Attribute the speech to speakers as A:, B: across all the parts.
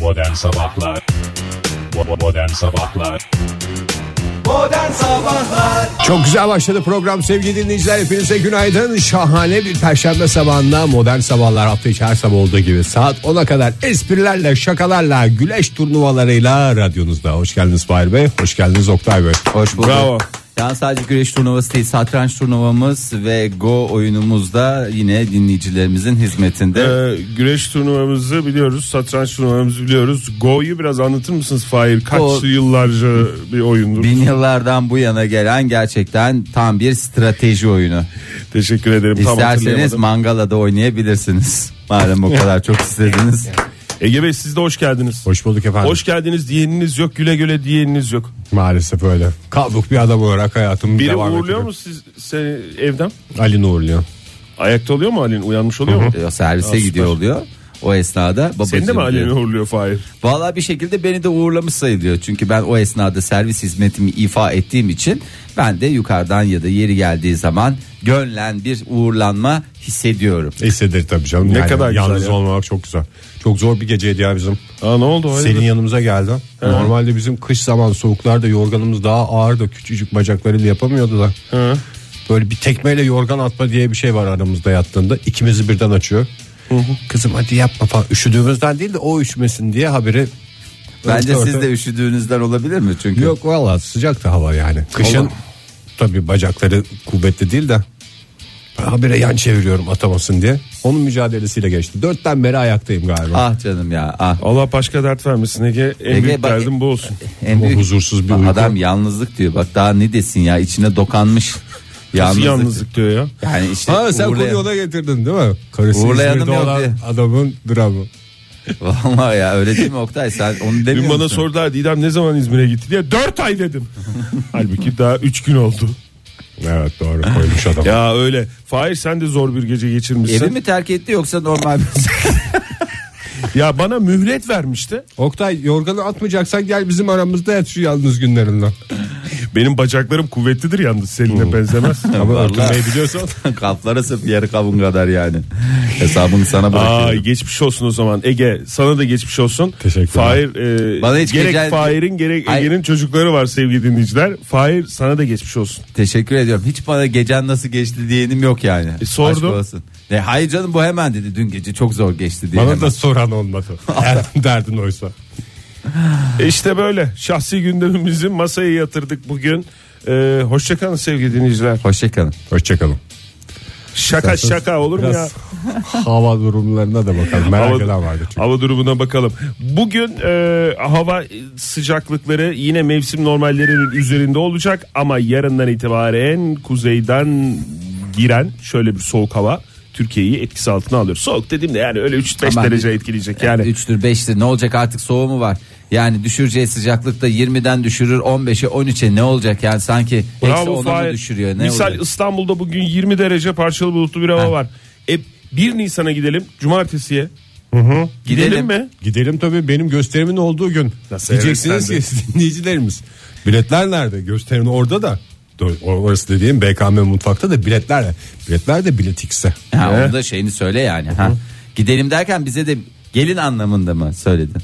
A: Modern Sabahlar Bo- Modern Sabahlar
B: Çok güzel başladı program sevgili dinleyiciler hepinize günaydın şahane bir perşembe sabahında modern sabahlar hafta içi her sabah olduğu gibi saat 10'a kadar esprilerle şakalarla güleş turnuvalarıyla radyonuzda hoş geldiniz Fahir Bey hoş geldiniz Oktay Bey
C: Hoş bulduk.
B: Bravo.
C: Yani sadece güreş turnuvası değil satranç turnuvamız ve go oyunumuz da yine dinleyicilerimizin hizmetinde.
D: Ee, güreş turnuvamızı biliyoruz, satranç turnuvamızı biliyoruz. Go'yu biraz anlatır mısınız Fahir? Kaç
C: Go-
D: yıllarca bir oyundur?
C: Bin yıllardan bu yana gelen gerçekten tam bir strateji oyunu.
D: Teşekkür ederim. Tam
C: İsterseniz
D: hatırlayamadım.
C: mangalada oynayabilirsiniz. Madem o kadar çok istediniz.
D: Ege Bey siz de hoş geldiniz.
B: hoş bulduk efendim
D: Hoş geldiniz diyeniniz yok, güle güle diyeniniz yok.
B: maalesef öyle kavruk bir adam olarak hayatım
D: Biri
B: devam
D: uğurluyor
B: ediyor.
D: mu siz seni evden?
B: Ali'ni uğurluyor
D: Ayakta oluyor mu Ali'nin? Uyanmış oluyor mu?
C: O servise gidiyor oluyor. O esnada babacığım
D: Seni de mi Ali'nin
C: diyor.
D: uğurluyor Fahir?
C: Valla bir şekilde beni de uğurlamış sayılıyor. Çünkü ben o esnada servis hizmetimi ifa ettiğim için ben de yukarıdan ya da yeri geldiği zaman gönlen bir uğurlanma hissediyorum.
B: hissedir tabii canım
D: Ne
B: Yani
D: kadar güzel
B: yalnız
D: ya.
B: olmamak çok güzel çok zor bir geceydi ya bizim
D: Aa, ne oldu? Hayırdır?
B: Senin yanımıza geldi. Normalde bizim kış zaman soğuklarda yorganımız daha ağırdı. Küçücük bacaklarıyla yapamıyordu da.
D: Hı.
B: Böyle bir tekmeyle yorgan atma diye bir şey var aramızda yattığında. İkimizi birden açıyor. Kızım hadi yapma falan. Üşüdüğümüzden değil de o üşümesin diye haberi.
C: Bence
B: Örtü
C: siz
B: örtü.
C: de üşüdüğünüzden olabilir mi? Çünkü
B: Yok valla sıcak da hava yani. Kışın
C: Allah.
B: tabii bacakları kuvvetli değil de. Ben habire yan çeviriyorum atamasın diye. Onun mücadelesiyle geçti. Dörtten beri ayaktayım galiba.
C: ah canım ya ah.
D: Allah başka dert vermesin Ege. En
C: Ege,
D: büyük
C: bak-
D: derdim bu olsun.
C: En
B: Ama huzursuz bir
C: Bak,
B: uyku.
C: adam yalnızlık diyor. Bak daha ne desin ya içine dokanmış.
D: Nasıl
C: yalnızlık.
D: yalnızlık diyor ya?
C: Yani işte
B: Ha sen
C: uğurlayan-
B: konuyu ona getirdin değil mi? Karısı
C: Uğurlayanım
B: İzmir'de
C: yok
B: olan
C: diye.
B: adamın dramı.
C: Vallahi ya öyle değil mi Oktay sen onu demiyor
D: Dün bana
C: musun?
D: sordular Didem ne zaman İzmir'e gitti diye 4 ay dedim. Halbuki daha 3 gün oldu.
B: Evet doğru koymuş adam.
D: Ya öyle. Fahir sen de zor bir gece geçirmişsin.
C: Evi mi terk etti yoksa normal bir
D: Ya bana mühlet vermişti.
B: Oktay yorganı atmayacaksan gel bizim aramızda yat şu yalnız günlerinden.
D: Benim bacaklarım kuvvetlidir yalnız
C: Hmm.
D: seninle benzemez.
B: Ama
C: Vallahi.
B: örtünmeyi biliyorsan.
C: Kafları sırf yarı kavun kadar yani. Hesabını sana
D: Aa,
C: bırakıyorum.
D: geçmiş olsun o zaman Ege sana da geçmiş olsun.
B: Teşekkürler.
D: Fahir, e,
C: Bana hiç
D: gerek
C: gecel-
D: Fahir'in gerek
C: Ay-
D: Ege'nin çocukları var sevgili dinleyiciler. Fahir sana da geçmiş olsun.
C: Teşekkür ediyorum. Hiç bana gecen nasıl geçti diyenim yok yani.
D: E, sordum.
C: Aşk olsun. E, hayır canım bu hemen dedi. Dün gece çok zor geçti diye.
B: Bana
C: hemen.
B: da soran olmadı. Eğer derdin oysa.
D: E işte böyle şahsi gündemimizi masaya yatırdık bugün. E, Hoşçakalın sevgili dinleyiciler.
C: Hoşçakalın.
B: Hoşçakalın.
D: Şaka
B: İsterseniz
D: şaka olur mu ya?
B: Biraz hava durumlarına da bakalım. Merak eden vardı çünkü.
D: hava durumuna bakalım. Bugün e, hava sıcaklıkları yine mevsim normallerinin üzerinde olacak ama yarından itibaren kuzeyden giren şöyle bir soğuk hava Türkiye'yi etkisi altına alıyor. Soğuk dediğimde yani öyle 3-5
C: Aman e,
D: derece
C: bir-
D: etkileyecek yani.
C: 3'tür 5'tir ne olacak artık soğuğu mu var? Yani düşüreceği sıcaklıkta 20'den düşürür 15'e 13'e ne olacak yani sanki eksi 10'a mı
D: Fahir.
C: düşürüyor ne
D: Misal
C: olacak?
D: İstanbul'da bugün 20 derece parçalı bulutlu bir hava
C: Ha.
D: var. E, 1 Nisan'a gidelim cumartesiye. Gidelim,
C: Gidelim.
D: mi?
B: Gidelim tabii benim gösterimin olduğu gün.
D: Nasıl
B: Diyeceksiniz ki dinleyicilerimiz. Biletler nerede? Gösterim orada da. Doğru, Orası dediğim BKM mutfakta da biletler. Biletler de bilet X'e.
C: Ha, onu da şeyini söyle yani. Ha. Gidelim derken bize de gelin anlamında mı söyledin?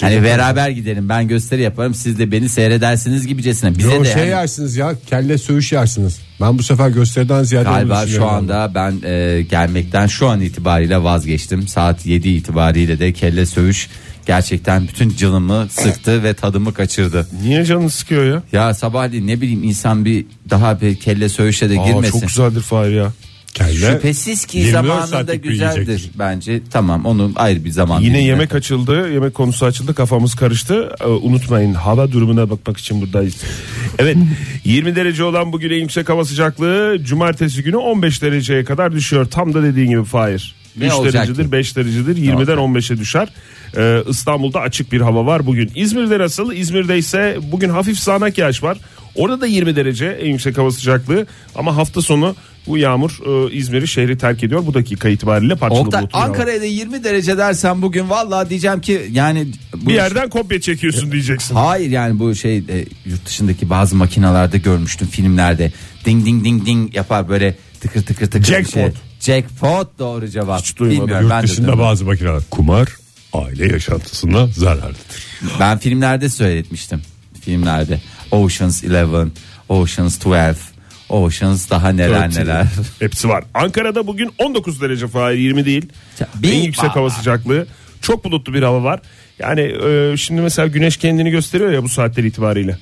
C: Hani beraber gidelim ben gösteri yaparım siz de beni seyredersiniz gibicesine. Bize
B: Yo,
C: de hani
B: şey
C: yani-
B: yersiniz ya kelle söğüş yersiniz. Ben bu sefer gösteriden ziyade onu
C: Galiba şu
B: düşünüyorum.
C: anda ben e, gelmekten şu an itibariyle vazgeçtim. Saat 7 itibariyle de kelle söğüş gerçekten bütün canımı sıktı ve tadımı kaçırdı.
D: Niye canını sıkıyor ya?
C: Ya sabahleyin ne bileyim insan bir daha bir kelle söğüşe de
D: Aa,
C: girmesin.
D: çok güzeldir Fahir ya.
B: kelle
C: Şüphesiz ki
B: 24
C: zamanında
B: saatlik bir
C: güzeldir
B: yiyecektir.
C: bence. Tamam onu ayrı bir zaman.
D: Yine
C: dilimine.
D: yemek açıldı, yemek konusu açıldı, kafamız karıştı. Ee, unutmayın hava durumuna bakmak için buradayız. Evet, 20 derece olan bugün en yüksek hava sıcaklığı cumartesi günü 15 dereceye kadar düşüyor. Tam da dediğin gibi Fahir.
C: Ne
D: 3
C: olacak
D: derecedir,
C: ki?
D: 5 derecedir, 20'den 15'e düşer. Ee, İstanbul'da açık bir hava var bugün. İzmir'de nasıl? İzmir'de ise bugün hafif sağanak yağış var. Orada da 20 derece en yüksek hava sıcaklığı ama hafta sonu bu yağmur e, İzmir'i şehri terk ediyor. Bu dakika itibariyle parçalı
C: Oktay
D: bulutlu yağmur.
C: Ankara'ya da 20 derece dersen bugün vallahi diyeceğim ki yani bu
D: Bir yerden kopya çekiyorsun diyeceksin.
C: Hayır yani bu şey e, yurt dışındaki bazı makinalarda görmüştüm filmlerde. Ding ding ding ding yapar böyle tıkır tıkır tıkır. bir
D: Jackpot.
C: Şey. Jackpot doğru cevap.
D: duymadım.
C: Bilmiyorum
B: Yurt
C: ben de
B: dışında
C: duymadım.
B: bazı makineler kumar
D: aile yaşantısına zararlıdır.
C: Ben filmlerde söyletmiştim. Filmlerde. Oceans 11, Oceans 12, Oceans daha neler neler.
D: Hepsi var. Ankara'da bugün 19 derece Fahir 20 değil.
C: Ya, bir
D: en yüksek
C: baba.
D: hava sıcaklığı. Çok bulutlu bir hava var. Yani e, şimdi mesela güneş kendini gösteriyor ya bu saatler itibariyle.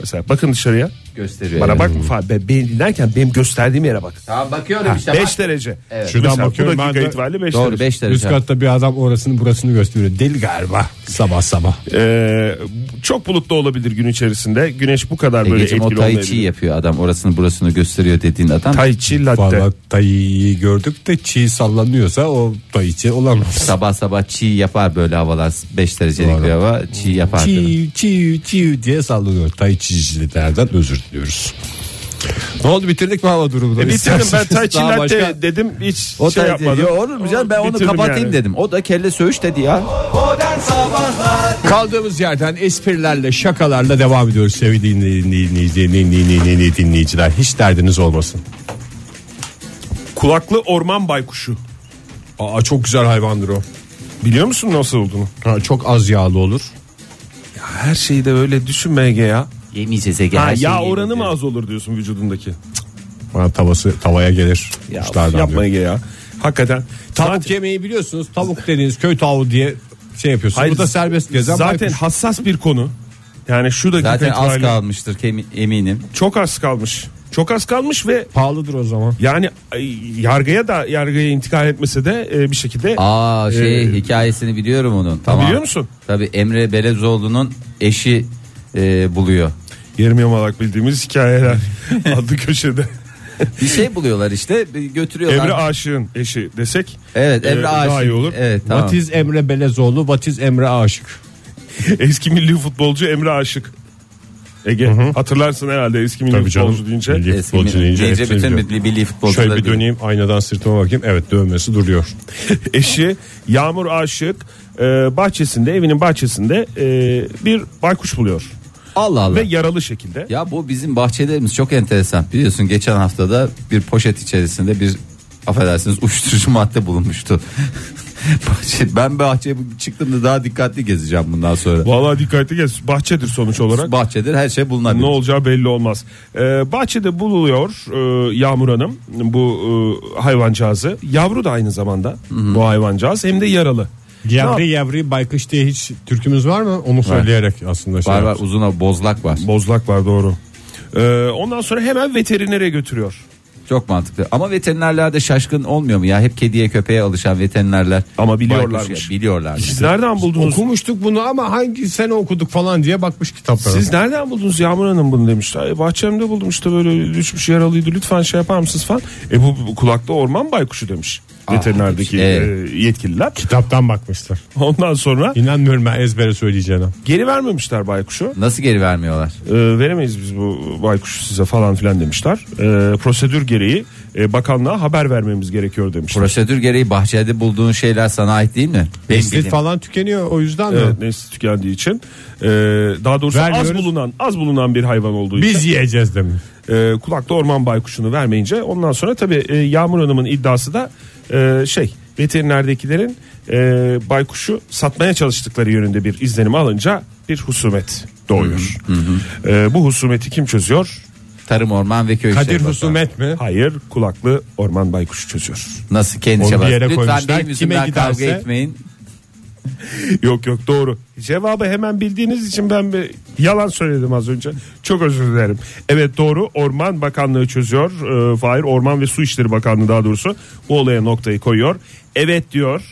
D: Mesela bakın dışarıya.
C: Gösteriyor.
D: Bana
C: evet.
D: bak Fahir. Ben, ben dinlerken benim gösterdiğim yere bak.
C: Tamam bakıyorum işte.
D: 5
C: bak.
D: derece.
C: Evet.
B: Şuradan
D: Mesela bu
B: bakıyorum ben
D: dakika
B: de-
D: itibariyle 5
C: Doğru 5 derece.
B: Üst katta bir adam orasını burasını gösteriyor. Deli galiba sabah sabah.
D: Ee, çok bulutlu olabilir gün içerisinde. Güneş bu kadar böyle
C: Egeciğim E, o
D: etkili
C: tai chi
D: olmayabilir.
C: yapıyor adam orasını burasını gösteriyor dediğin adam.
D: Tai chi latte.
B: Vallahi dayıyı gördük de çiğ sallanıyorsa o dayıcı olamaz.
C: Sabah sabah çiğ yapar böyle havalar 5 derecelik
B: Doğru.
C: bir hava çiğ yapar. dedim.
B: Çiğ çiğ çiğ diye sallanıyor. Tayçicilerden özür diliyoruz. Ne oldu bitirdik mi hava durumunu?
D: E bitirdim ben
B: İsterseniz
D: tai chi
B: daha
D: latte
B: başka-
D: dedim hiç
C: O
D: şey
C: tai chi
D: yapmadım.
C: diyor, olur mu canım ben onu
D: Bitirdim
C: kapatayım
D: yani.
C: dedim. O da kelle söğüş dedi ya.
B: Kaldığımız yerden esprilerle şakalarla devam ediyoruz sevgili dinley- dinley- dinley- dinley- dinley- dinleyiciler. Hiç derdiniz olmasın.
D: Kulaklı orman baykuşu.
B: Aa çok güzel hayvandır o.
D: Biliyor musun nasıl olduğunu?
B: Ha, çok az yağlı olur.
D: Her şeyi de öyle düşünme Ege ya.
C: Yemeyeceğiz Ege.
D: Ha,
C: her şeyi
D: yağ oranı
C: yemeyeceğiz.
D: mı az olur diyorsun vücudundaki?
B: Ha, tavası tavaya gelir.
D: Ya,
B: Kuşlardan
D: yapma
B: diyor.
D: Ege ya. Hakikaten.
B: Tavuk
D: Zaten-
B: yemeği biliyorsunuz. Tavuk dediğiniz köy tavuğu diye şey yapıyorsunuz.
D: Hayır,
B: Bu da serbest gezen
D: Zaten
B: baykuş.
D: hassas bir konu. Yani şu dakika
C: Zaten az
D: itibariyle-
C: kalmıştır kemi- eminim.
D: Çok az kalmış. Çok az kalmış ve
B: pahalıdır o zaman.
D: Yani ay, yargıya da yargıya intikal etmese de e, bir şekilde
C: Aa şey
D: Ee,
C: hikayesini biliyorum onun. Tamam.
D: biliyor musun?
C: Tabii Emre Belezoğlu'nun eşi e, buluyor.
D: yarım yamalak bildiğimiz hikayeler adlı köşede.
C: Bir şey buluyorlar işte bir götürüyorlar.
D: Emre Aşık'ın eşi desek
C: Evet Emre
D: e,
C: Aşık.
D: daha iyi olur.
C: Evet tamam.
B: Vatiz Emre Belezoğlu, Vatiz Emre Aşık.
D: Eski milli futbolcu Emre Aşık. Ege hatırlarsın herhalde eski milli
B: Tabii canım.
D: futbolcu deyince.
B: Milli
C: Eski
B: futbolcu
C: milli-
B: deyince
C: deyince
B: hepsini
C: bütün
B: biliyorum.
C: milli- milli futbolcuları
B: Şöyle bir
C: biliyorum.
B: döneyim aynadan sırtıma bakayım. Evet dövmesi duruyor.
D: Eşi Yağmur Aşık e, bahçesinde evinin bahçesinde e, bir baykuş buluyor.
C: Allah Allah.
D: Ve yaralı şekilde.
C: Ya bu bizim bahçelerimiz çok enteresan. Biliyorsun geçen haftada bir poşet içerisinde bir affedersiniz uyuşturucu madde bulunmuştu. Bahçe- ben bahçeye çıktığımda daha dikkatli gezeceğim bundan sonra.
D: Vallahi dikkatli gez. Bahçedir sonuç olarak.
C: Bahçedir her şey
D: Ne
C: bulunabilir.
D: olacağı belli olmaz. Ee, bahçede buluyor e, Yağmur Hanım bu e, hayvancağızı. Yavru da aynı zamanda bu hayvancağız hem de yaralı.
B: Yavri yavri baykuş diye hiç türkümüz var mı? Onu söyleyerek aslında şey
C: Var var
B: yaptım.
C: uzun o- bozlak var.
D: Bozlak var doğru. Ee, ondan sonra hemen veterinere götürüyor.
C: Çok mantıklı. Ama veterinerler de şaşkın olmuyor mu ya? Hep kediye köpeğe alışan veterinerler.
D: Ama biliyorlarmış.
C: Baykuş- Biliyorlar.
D: Nereden buldunuz?
B: Okumuştuk bunu ama hangi sene okuduk falan diye bakmış kitaplara.
D: Siz nereden buldunuz Yağmur Hanım bunu demiş. "Ay, Bahçemde buldum işte böyle düşmüş yaralıydı lütfen şey yapar mısınız falan. E bu, bu kulakta orman baykuşu demiş. Veterinerdeki
C: evet.
D: e, yetkililer.
B: Kitaptan bakmışlar.
D: Ondan sonra
B: İnanmıyorum ben ezbere söyleyeceğine.
D: geri vermemişler baykuşu.
C: Nasıl geri vermiyorlar?
D: E, veremeyiz biz bu baykuşu size falan filan demişler. E, prosedür gereği e, bakanlığa haber vermemiz gerekiyor demişler.
C: Prosedür gereği bahçede bulduğun şeyler sana ait değil mi? Benim
B: Nesli
C: bildiğim.
B: falan tükeniyor o yüzden mi?
D: Evet, nesli tükendiği için e, daha doğrusu az
B: Vermiyoruz.
D: bulunan az bulunan bir hayvan olduğu için
B: Biz yiyeceğiz demiş.
D: e, kulakta orman baykuşunu vermeyince ondan sonra tabii e, Yağmur Hanım'ın iddiası da e, şey veterinerdekilerin e, baykuşu satmaya çalıştıkları yönünde bir izlenimi alınca bir husumet doğuyor. E, bu husumeti kim çözüyor?
C: Tarım Orman ve Köy
B: Kadir
C: İşleri Bakanı.
B: husumet mi?
D: Hayır kulaklı orman baykuşu çözüyor.
C: Nasıl
B: Onu
C: kendi
B: bir
C: çabası?
B: yere
C: Lütfen
B: koymuşlar.
C: benim
B: Kime
C: yüzümden kavga
B: giderse-
C: etmeyin.
D: Yok yok doğru. Cevabı hemen bildiğiniz için ben bir yalan söyledim az önce. Çok özür dilerim. Evet doğru Orman Bakanlığı çözüyor. Ee, Fahir Orman ve Su İşleri Bakanlığı daha doğrusu bu olaya noktayı koyuyor. Evet diyor.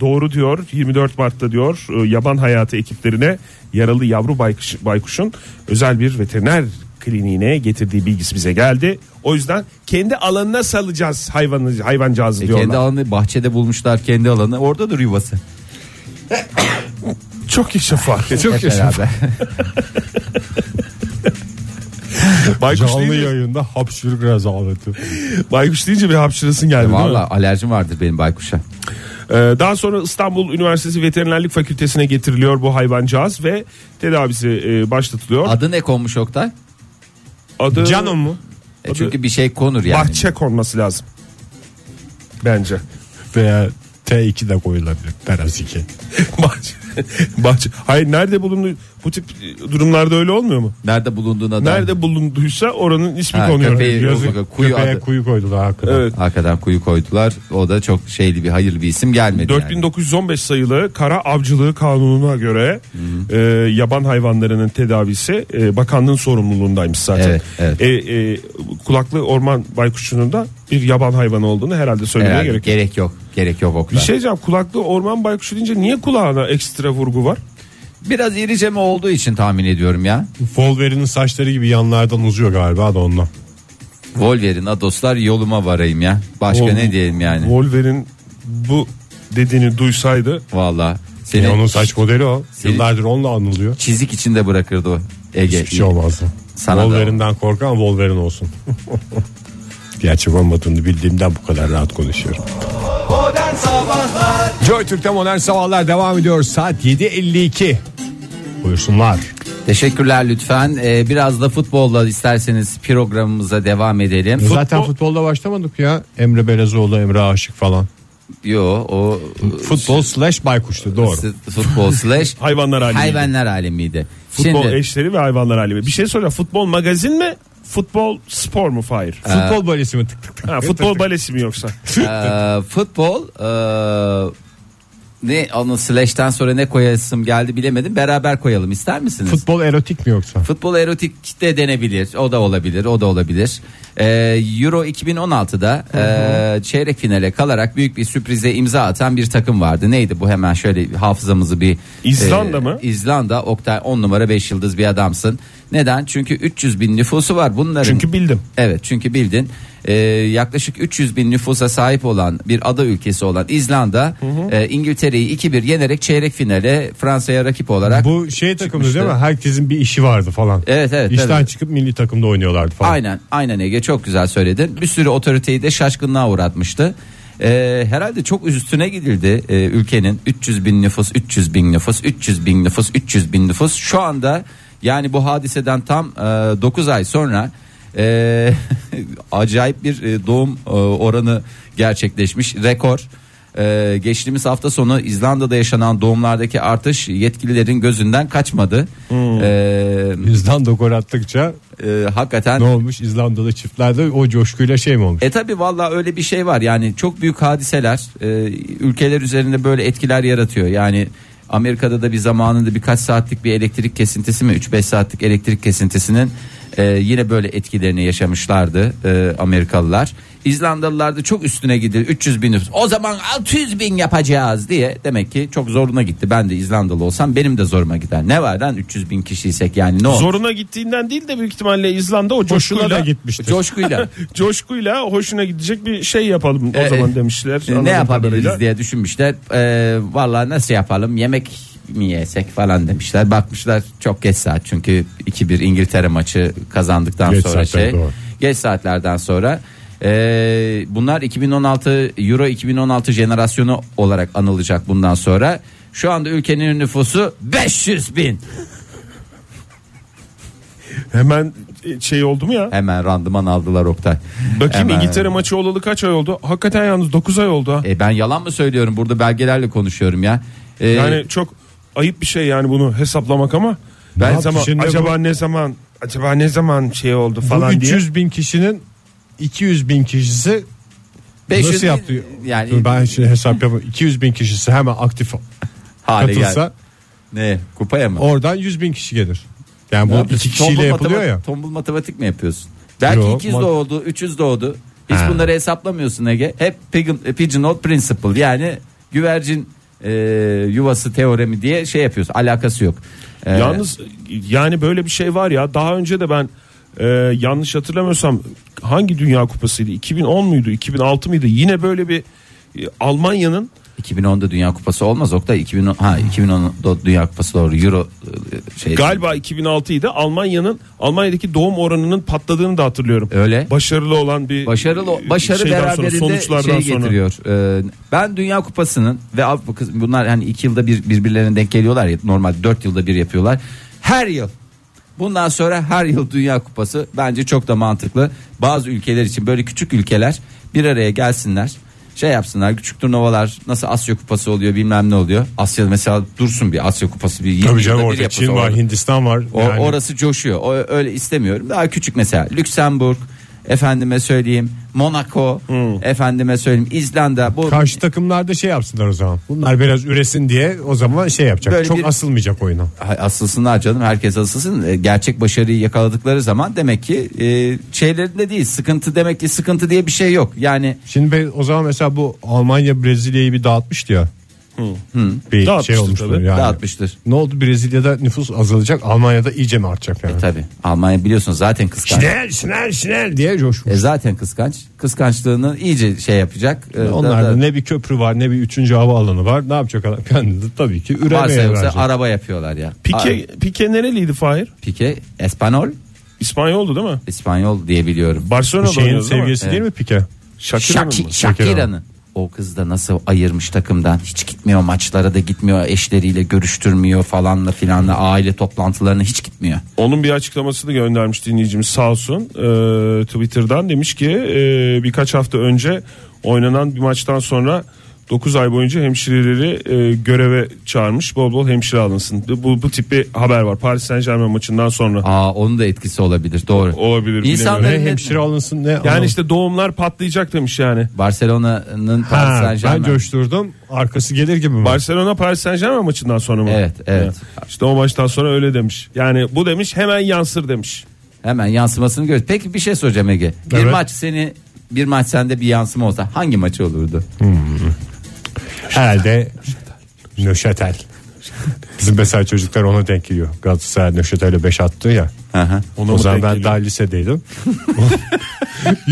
D: Doğru diyor 24 Mart'ta diyor e, yaban hayatı ekiplerine yaralı yavru baykuş, baykuşun özel bir veteriner kliniğine getirdiği bilgisi bize geldi. O yüzden kendi alanına salacağız hayvanı hayvancağızı
C: E,
D: diyorlar.
C: kendi alanı bahçede bulmuşlar kendi alanı. Oradadır yuvası.
D: Çok yaşa Fahir.
B: Çok
C: Hep beraber.
D: Baykuş
B: Canlı
D: deyince-
B: yayında hapşırık rezaleti.
D: Baykuş deyince bir hapşırasın geldi değil mi?
C: Valla alerjim vardır benim baykuşa.
D: Ee, Daha sonra İstanbul Üniversitesi Veterinerlik Fakültesi'ne getiriliyor bu hayvancağız ve tedavisi e, başlatılıyor.
C: Adı ne konmuş Oktay?
D: Adı
B: Canım mı?
C: E, çünkü bir şey konur yani.
D: bahçe konması lazım. Bence.
B: Veya
E: T2 de koyulabilir. Teras 2.
D: bahçe, bahçe. Hayır nerede bulundu bu tip durumlarda öyle olmuyor mu?
C: Nerede bulunduğuna dair.
D: Nerede bulunduysa oranın ismi
C: Ha,
D: konuyor.
C: köpeği-
D: Yazık.
C: Yok, yok, Kuyu
E: Köpeğe
C: adı.
E: kuyu koydular hakikaten.
D: Evet.
C: Hakikaten kuyu koydular. O da çok şeyli bir hayırlı bir isim gelmedi. yani.
D: 4915 sayılı kara avcılığı kanununa göre e, yaban hayvanlarının tedavisi e, bakanlığın sorumluluğundaymış zaten.
C: Evet, evet.
D: E, e, kulaklı orman baykuşunun da bir yaban hayvanı olduğunu herhalde söylemeye
C: Herhalde
D: gerek yok.
C: gerek yok. Gerek yok o
D: Bir
C: kadar.
D: şey diyeceğim kulaklı orman baykuşu deyince niye kulağına ekstra vurgu var?
C: Biraz irice mi olduğu için tahmin ediyorum ya.
E: Wolverine'in saçları gibi yanlardan uzuyor galiba da onunla.
C: Wolverine dostlar yoluma varayım ya. Başka
D: Vol-
C: ne diyelim yani.
D: Wolverine bu dediğini duysaydı
C: Valla. Seni
E: Yani onun saç modeli o. Yıllardır onunla anılıyor.
C: çizik içinde bırakırdı o. Ege.
E: Hiçbir şey olmazdı.
C: Sana da-
E: Wolverine'den korkan Wolverine olsun. Gerçek olmadığını bildiğimden bu kadar rahat konuşuyorum. Joy Türk'te modern sabahlar devam ediyor. Saat 7.52. Buyursunlar.
C: Teşekkürler lütfen. Ee, biraz da futbolla isterseniz programımıza devam edelim.
E: Zaten futbolda başlamadık ya. Emre Belezoğlu, Emre Aşık falan.
C: Yo o
E: Futbol slash baykuştu doğru.
C: futbol slash
D: hayvanlar halinde.
C: hayvanlar alemiydi.
D: Futbol
C: Şimdi
D: eşleri ve hayvanlar alemi. Bir şey soracağım. Futbol magazin mi? Futbol spor mu? Hayır.
E: Futbol balesi mi tık tık tık.
D: Ha, futbol balesi mi yoksa?
C: e, futbol e, ne onun slash'ten sonra ne koyasım geldi bilemedim. Beraber koyalım ister misiniz?
E: Futbol erotik mi yoksa?
C: Futbol erotik de denebilir. O da olabilir. O da olabilir. Ee, Euro 2016'da e, çeyrek finale kalarak büyük bir sürprize imza atan bir takım vardı. Neydi bu hemen şöyle hafızamızı bir ee,
D: İzlanda mı?
C: İzlanda. Oktay 10 numara 5 yıldız bir adamsın. Neden? Çünkü 300 bin nüfusu var. Bunların
D: Çünkü bildim.
C: Evet çünkü bildin e, yaklaşık 300 bin nüfusa sahip olan bir ada ülkesi olan İzlanda e, İngiltere'yi 2-1 yenerek çeyrek finale Fransa'ya rakip olarak
E: Bu şey takımı
C: çıkmıştı.
E: değil mi? Herkesin bir işi vardı falan.
C: Evet, evet,
E: İşten
C: tabii.
E: çıkıp milli takımda oynuyorlardı falan.
C: Aynen aynen Ege çok güzel söyledin. Bir sürü otoriteyi de şaşkınlığa uğratmıştı. Ee, herhalde çok üstüne gidildi ee, ülkenin 300 bin nüfus 300 bin nüfus 300 bin nüfus 300 bin nüfus şu anda yani bu hadiseden tam 9 ay sonra e, acayip bir e, doğum e, oranı gerçekleşmiş rekor. Ee, geçtiğimiz hafta sonu İzlanda'da yaşanan doğumlardaki artış yetkililerin gözünden kaçmadı. Ee,
E: İzlanda gol attıkça
C: e, hakikaten
E: ne olmuş İzlandalı çiftlerde o coşkuyla şey mi olmuş?
C: E tabi valla öyle bir şey var yani çok büyük hadiseler e, ülkeler üzerinde böyle etkiler yaratıyor yani Amerika'da da bir zamanında birkaç saatlik bir elektrik kesintisi mi 3-5 saatlik elektrik kesintisinin e, yine böyle etkilerini yaşamışlardı e, Amerikalılar. İzlandalılar da çok üstüne gitti 300 bin nüfus o zaman 600 bin yapacağız diye demek ki çok zoruna gitti ben de İzlandalı olsam benim de zoruma gider ne var lan 300 bin kişiysek yani ne olur.
D: Zoruna gittiğinden değil de büyük ihtimalle İzlanda o
E: Hoşuna da
D: coşkuyla
E: gitmiştir.
C: Coşkuyla.
D: coşkuyla hoşuna gidecek bir şey yapalım o
C: Ee,
D: zaman demişler.
C: e, Ne
D: Anladığım
C: yapabiliriz
D: kadarıyla.
C: diye düşünmüşler. Ee, Valla nasıl yapalım yemek mi yesek falan demişler. Bakmışlar çok geç saat çünkü 2-1 İngiltere maçı kazandıktan
E: Geç
C: sonra
E: saatler,
C: şey.
E: doğru.
C: Geç saatlerden sonra. Ee, bunlar 2016 Euro 2016 jenerasyonu olarak anılacak bundan sonra. Şu anda ülkenin nüfusu 500 bin.
D: Hemen e, şey oldu mu ya?
C: Hemen randıman aldılar Oktay.
D: Bakayım
C: Hemen.
D: İngiltere maçı olalı kaç ay oldu? Hakikaten yalnız 9 ay oldu ha.
C: E, ben yalan mı söylüyorum burada belgelerle konuşuyorum ya. Ee,
D: Yani çok ayıp bir şey yani bunu hesaplamak ama.
E: Ben-
D: Ne zaman,
E: Şimdi bu-
D: acaba ne zaman acaba ne zaman şey oldu
E: Bu
D: falan diye.
E: 300 bin kişinin 200 bin kişisi
C: 500
E: nasıl
C: bin-
E: yaptı?
C: Yani
E: Dur ben şimdi hesap yapayım. 200 bin kişisi hemen aktif
C: hale
E: katılsa
C: gel. Ne? Kupaya mı?
E: oradan 100 bin kişi gelir. Yani bu
C: Ne
E: iki
C: yapıyorsun?
E: kişiyle
C: Tombul
E: yapılıyor
C: matematik-
E: ya.
C: Tombul matematik mi yapıyorsun? Belki
E: Yok,
C: 200
E: mat-
C: doğdu, 300 doğdu. Hiç bunları hesaplamıyorsun Ege. Hep pigeon- pigeonhole principle yani güvercin e, yuvası teoremi diye şey yapıyorsun. Alakası yok. E,
D: Yalnız yani böyle bir şey var ya daha önce de ben e, yanlış hatırlamıyorsam hangi dünya kupasıydı 2010 muydu 2006 mıydı yine böyle bir e, Almanya'nın
C: 2010'da Dünya Kupası olmaz. Oktay 2010 ha 2010'da Dünya Kupası doğru Euro e, şey.
D: galiba 2006'ydı Almanya'nın Almanya'daki doğum oranının patladığını da hatırlıyorum.
C: Öyle.
D: Başarılı olan bir
C: Başarılı
D: e,
C: başarı
D: şeyden sonra,
C: beraberinde
D: sonuçlardan
C: şey getiriyor. Ee, ben Dünya Kupası'nın ve Avrupa kız- bunlar hani iki yılda bir birbirlerine denk geliyorlar ya normal dört yılda bir yapıyorlar. Her yıl bundan sonra her yıl Dünya Kupası bence çok da mantıklı. Bazı ülkeler için böyle küçük ülkeler bir araya gelsinler. şey yapsınlar küçük turnuvalar nasıl Asya kupası oluyor bilmem ne oluyor. Asya mesela dursun bir Asya kupası bir yirmi
B: Tabii
C: yılda
B: canım
C: bir
B: orada
C: yapılsa
B: Çin var
C: orada.
B: Hindistan var.
C: O,
B: Yani
C: Orası coşuyor. O, öyle istemiyorum. Daha küçük mesela Lüksemburg efendime söyleyeyim Monaco
B: Hmm.
C: efendime söyleyeyim İzlanda bu
B: Karşı takımlarda şey yapsınlar o zaman. Bunlar biraz üresin diye o zaman şey yapacak.
C: Böyle
B: Çok
C: bir-
B: asılmayacak oyuna.
C: Hay- asılsınlar canım herkes asılsın E, gerçek başarıyı yakaladıkları zaman demek ki e, şeylerinde değil sıkıntı demek ki sıkıntı diye bir şey yok yani
B: Şimdi ben- o zaman mesela bu Almanya Brezilya'yı bir dağıtmıştı ya. Bir
D: Dağıtmıştır
B: şey olmuştu
D: tabii.
B: yani.
C: dağıtmıştır
B: Ne oldu Brezilya'da nüfus azalacak Almanya'da iyice mi artacak
D: E,
B: yani?
C: tabi Almanya biliyorsun zaten kıskanç
B: Şinel şinel şinel diye coşmuş.
C: E, zaten kıskanç kıskançlığını iyice şey yapacak E, da-
B: Onlarda
C: da-
B: ne bir köprü var ne bir üçüncü havaalanı var. Ne yapacak adam? Kendini tabii ki üremeye
C: varsa yoksa
B: verecek.
C: araba yapıyorlar ya
D: Pike, Pike nereliydi Fahir?
C: A- Pike Espanol
D: İspanyoldu değil mi?
C: İspanyol diye biliyorum
D: Barcelona'da
B: Şeyin
D: oynuyordu değil mi?
B: sevgilisi değil mi Pike?
D: Shakira'nın mı?
C: Şaki- Shakira'nın. O kız da nasıl ayırmış takımdan hiç gitmiyor maçlara da gitmiyor eşleriyle görüştürmüyor falanla filanla aile toplantılarına hiç gitmiyor.
D: Onun bir açıklamasını göndermiş dinleyicimiz sağ olsun. Ee, Twitter'dan demiş ki e, birkaç hafta önce oynanan bir maçtan sonra 9 ay boyunca hemşireleri e, göreve çağırmış. Bol bol hemşire alınsın. Bu, bu tip bir haber var. Paris Saint Germain maçından sonra
C: Aa onun da etkisi olabilir doğru.
D: olabilir.
C: İnsanların
D: bilemiyorum.
B: Ne hemşire alınsın ne
D: Yani
B: anam-
D: işte doğumlar patlayacak demiş yani.
C: Barcelona'nın Paris
B: Ha, ben
C: Saint-Germain.
B: coşturdum arkası gelir gibi mi?
D: Barcelona Paris Saint Germain maçından sonra mı?
C: Evet, evet.
D: İşte o maçtan sonra öyle demiş. Yani bu demiş hemen yansır demiş.
C: Hemen yansımasını gör. Peki bir şey soracağım Ege. Bir
B: Evet.
C: maç seni bir maç sende bir yansıma olsa hangi maçı olurdu?
D: şey.
B: Herhalde Nöşetel. Bizim mesela çocuklar ona denk geliyor. Galatasaray Nöşetel'e 5 attı ya.
C: Aha.
B: o
D: mı
B: zaman
D: denk
B: ben
D: geliyor?
B: daha lisedeydim.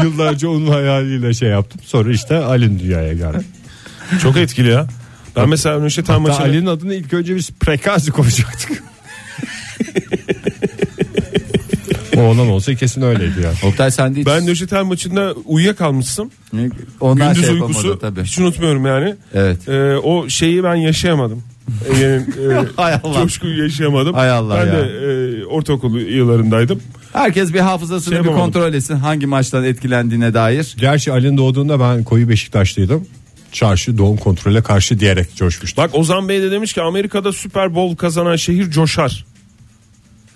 B: Yıllarca onun hayaliyle şey yaptım. Sonra işte Ali'nin dünyaya geldi.
D: Çok etkili ya. Ben mesela Nüşetel
B: Hatta
D: maçını...
B: Ali'nin adını ilk önce biz Prekazi koyacaktık. o olan olsa kesin öyleydi ya.
C: Oktay sen de hiç
D: Ben Nöşetel maçında uyuyakalmıştım.
C: ondan
D: Gündüz
C: şey yapamadı
D: uykusu
C: tabii.
D: hiç unutmuyorum yani.
C: Evet.
D: Ee, o şeyi ben yaşayamadım. Ege'nin e,
C: Hay Allah.
D: coşkuyu yaşayamadım.
C: Hay Allah
D: ben
C: ya.
D: de e, ortaokul yıllarındaydım.
C: Herkes bir hafızasını
D: Şey
C: bir
D: yapamadım.
C: kontrol etsin hangi maçtan etkilendiğine dair.
B: Gerçi Ali'nin doğduğunda ben koyu Beşiktaşlıydım. Çarşı doğum kontrole karşı diyerek coşmuştum.
D: Bak Ozan Bey de demiş ki Amerika'da Super Bowl kazanan şehir coşar.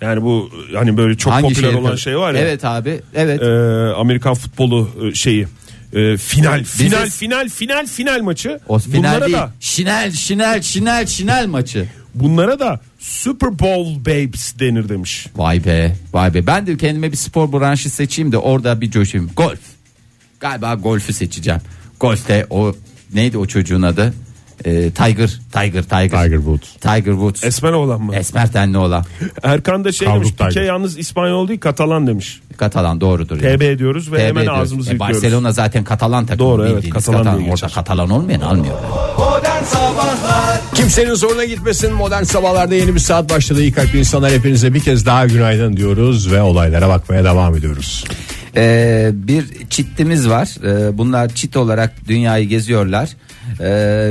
D: Yani bu hani böyle çok
C: hangi
D: popüler
C: şehir-
D: olan şey var ya.
C: Evet abi. Evet.
D: e, Amerikan futbolu e, şeyi e, final
C: Biziz.
D: final final final final maçı.
C: O final
D: bunlara
C: değil.
D: da
C: Şinel şinel şinel şinel maçı.
D: bunlara da Super Bowl babes denir demiş.
C: Vay be vay be. Ben de kendime bir spor branşı seçeyim de orada bir coşayım. Golf. Galiba golfü seçeceğim. Golfte o neydi o çocuğun adı? Ee, Tiger. Tiger. Tiger.
B: Tiger Woods.
C: Tiger Woods.
D: Esmer olan mı?
C: Esmer tenli olan.
D: Erkan da şey
B: Kavruk
D: demiş. Pike
B: Tiger.
D: yalnız İspanyol değil Katalan demiş.
C: Katalan doğrudur. yani.
D: TB ediyoruz ve
C: TB
D: hemen
C: diyoruz.
D: ağzımızı
C: E,
D: yıkıyoruz.
C: Barcelona zaten Katalan takımı.
D: Doğru, evet,
C: bildiğiniz
D: Katalan diye geçer.
C: Orada Katalan olmayan almıyorlar.
E: Kimsenin zoruna gitmesin modern sabahlarda yeni bir saat başladı. İyi kalp insanlar hepinize bir kez daha günaydın diyoruz ve olaylara bakmaya devam ediyoruz.
C: Ee, bir çiftimiz var. Ee, bunlar çit olarak dünyayı geziyorlar Ee,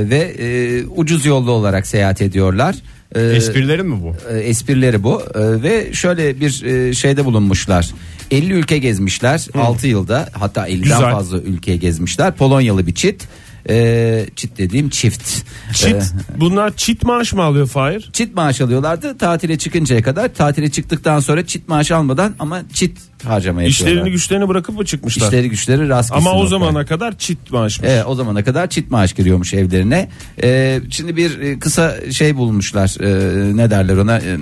C: ve e, ucuz yollu olarak seyahat ediyorlar. Ee,
B: Esprileri mi bu?
C: e, esprileri bu Ee, ve şöyle bir e, şeyde bulunmuşlar. 50 ülke gezmişler 6 yılda hatta 50'den
D: Güzel.
C: fazla ülke gezmişler. Polonyalı bir çit. Ee, çit dediğim çift. Ee,
D: Çit bunlar çit maaş mı alıyor Fahir?
C: çit maaş alıyorlardı tatile çıkıncaya kadar. Tatile çıktıktan sonra çit maaş almadan ama çit harcama yapıyorlar.
D: İşlerini güçlerini bırakıp mı çıkmışlar?
C: İşleri güçleri rast
D: Ama
C: gitsin
D: o
C: Oktay.
D: zamana kadar çit maaşmış.
C: Evet, E, o zamana kadar çit maaş giriyormuş evlerine. Ee, şimdi bir e, kısa şey bulmuşlar. Ee, ne derler ona? Ee,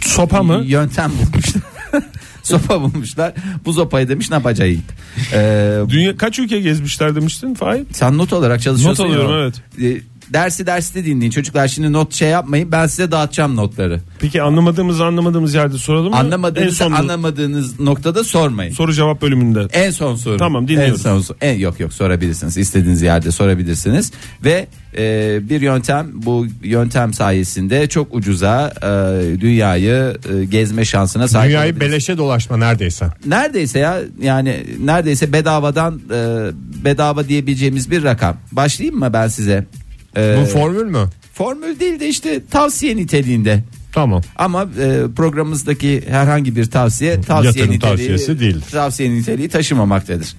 D: Sopa mı?
C: Yöntem bulmuşlar. sopa bulmuşlar. Bu sopayı demiş ne yapacağız? Ee,
D: Dünya kaç ülke gezmişler demiştin Fahir?
C: sen not olarak çalışıyorsun.
D: Not
C: ya.
D: alıyorum,
C: Ee, dersi derste dinleyin. Çocuklar şimdi not şey yapmayın. Ben size dağıtacağım notları.
D: Peki anlamadığımız anlamadığımız yerde soralım mı? En
C: Anlamadığınız
D: son
C: anlamadığınız noktada sormayın.
D: soru cevap bölümünde.
C: En son soru.
D: Tamam, dinliyoruz.
C: En son soru. En, yok yok sorabilirsiniz. İstediğiniz yerde sorabilirsiniz. Ve e, bir yöntem bu yöntem sayesinde çok ucuza e, dünyayı e, gezme şansına sahip
B: Dünyayı
C: olabilirsiniz.
B: beleşe dolaşma neredeyse.
C: Neredeyse ya yani neredeyse bedavadan e, bedava diyebileceğimiz bir rakam. Başlayayım mı ben size? E,
B: Bu formül mü?
C: formül değil de işte tavsiye niteliğinde.
B: Tamam.
C: Ama e, programımızdaki herhangi bir tavsiye tavsiye
B: Yatırım
C: niteliği,
B: tavsiyesi değildir.
C: Tavsiye niteliği taşımamaktadır.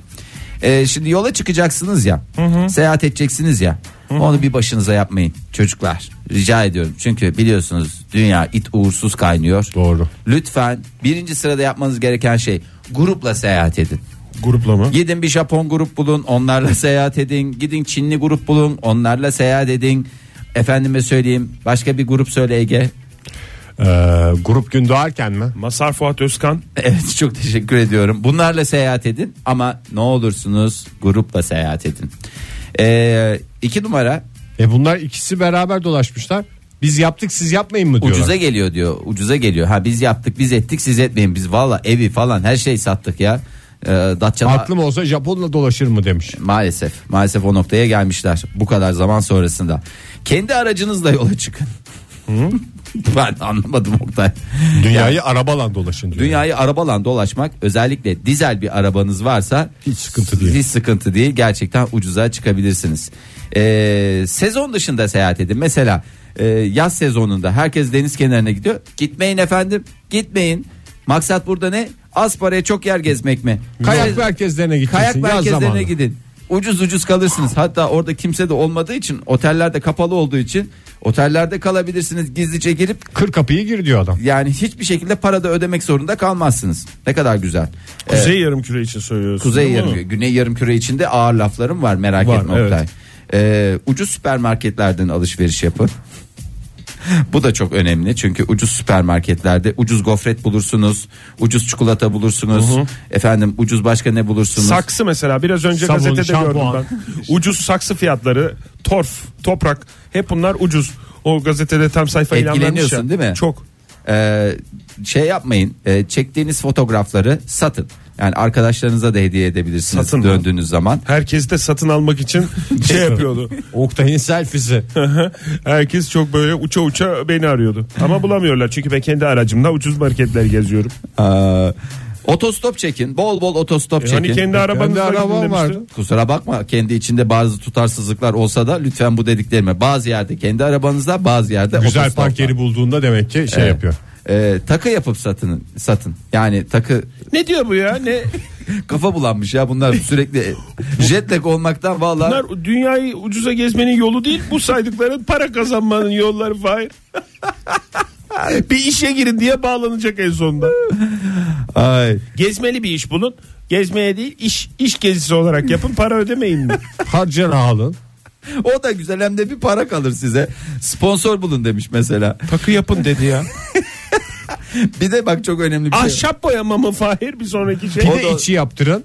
C: Ee, şimdi yola çıkacaksınız ya. Seyahat edeceksiniz ya. Onu bir başınıza yapmayın çocuklar. Rica ediyorum. Çünkü biliyorsunuz dünya it uğursuz kaynıyor.
B: Doğru.
C: Lütfen birinci sırada yapmanız gereken şey grupla seyahat edin.
D: Gruplama.
C: Gidin bir Japon grup bulun onlarla seyahat edin. Gidin Çinli grup bulun onlarla seyahat edin. Efendime söyleyeyim başka bir grup söyle Ege.
B: Ee, grup gün doğarken mi?
D: Masar Fuat Özkan.
C: Evet çok teşekkür ediyorum. Bunlarla seyahat edin ama ne olursunuz grupla seyahat edin. Ee, iki numara
B: E bunlar ikisi beraber dolaşmışlar. Biz yaptık siz yapmayın mı diyorlar.
C: ucuza geliyor diyor. Ucuza geliyor. Ha biz yaptık biz ettik siz etmeyin. Biz valla evi falan her şeyi sattık ya. Ee, Datça'da
B: Aklım olsa Japon'la dolaşır mı demiş.
C: maalesef maalesef o noktaya gelmişler bu kadar zaman sonrasında. Kendi aracınızla yola çıkın. ben anlamadım Oktay.
B: Dünyayı arabalan dolaşın diyor.
C: Dünyayı arabalan dolaşmak özellikle dizel bir arabanız varsa
B: Hiç sıkıntı değil.
C: Hiç sıkıntı değil. Gerçekten ucuza çıkabilirsiniz. Ee, sezon dışında seyahat edin. Mesela e, yaz sezonunda herkes deniz kenarına gidiyor. Gitmeyin efendim. Gitmeyin. Maksat burada ne? Az paraya çok yer gezmek mi?
B: Kayak merkezlerine gitmesin.
C: Kayak merkezlerine
B: git.
C: gidin. Ucuz ucuz kalırsınız. Hatta orada kimse de olmadığı için otellerde kapalı olduğu için otellerde kalabilirsiniz. Gizlice girip
B: Kır kapıyı gir diyor adam.
C: yani hiçbir şekilde parada ödemek zorunda kalmazsınız. Ne kadar güzel. Ee,
D: Kuzey yarımküre için söylüyorsun.
C: Kuzey
D: değil mi
C: yarım,
D: onu?
C: Güney yarımküre içinde ağır laflarım var merak
D: Var,
C: etme Oktay.
D: evet.
C: Ee, ucuz süpermarketlerden alışveriş yapın. Bu da çok önemli çünkü ucuz süpermarketlerde ucuz gofret bulursunuz, ucuz çikolata bulursunuz, efendim ucuz başka ne bulursunuz?
D: Saksı mesela biraz önce
B: Sabun,
D: gazetede
B: şampuan.
D: gördüm ben. Ucuz saksı fiyatları, torf, toprak hep bunlar ucuz. O gazetede tam sayfa ilan vermiş ya.
C: Etkileniyorsun değil mi?
D: Çok.
C: Ee, şey yapmayın. e, çektiğiniz fotoğrafları satın. Yani arkadaşlarınıza da hediye edebilirsiniz
D: Satın mı?
C: döndüğünüz zaman.
D: Herkes de satın almak için şey yapıyordu.
B: Oktay'ın selfisi.
D: Herkes çok böyle uça uça beni arıyordu. Ama bulamıyorlar çünkü ben kendi aracımla ucuz marketler geziyorum.
C: Ee, otostop çekin. Bol bol otostop çekin.
D: Hani kendi arabanızla
B: Kendi
D: gidin
B: arabam
D: demişti.
B: vardı.
C: Kusura bakma kendi içinde bazı tutarsızlıklar olsa da lütfen bu dediklerime bazı yerde kendi arabanızda bazı yerde
B: Güzel
C: otostopla.
B: park yeri bulduğunda demek ki şey
C: Evet.
B: yapıyor.
C: Ee, takı yapıp satın satın yani takı
D: Ne diyor bu ya? Ne?
C: kafa bulanmış ya bunlar sürekli jetlag olmaktan vallahi
D: Bunlar dünyayı ucuza gezmenin yolu değil. Bu saydıkların para kazanmanın yolları Fahir. bir işe girin diye bağlanacak en sonunda.
C: ay
D: Gezmeli bir iş bulun. Gezmeye değil iş iş gezisi olarak yapın para ödemeyin mi?
B: Harcana alın.
C: O da güzel hem de bir para kalır size. Sponsor bulun demiş mesela.
D: Takı yapın dedi ya.
C: Bir de bak çok önemli bir şey.
D: Ahşap boyama mı Fahir bir sonraki şey?
B: Bir de içi yaptırın.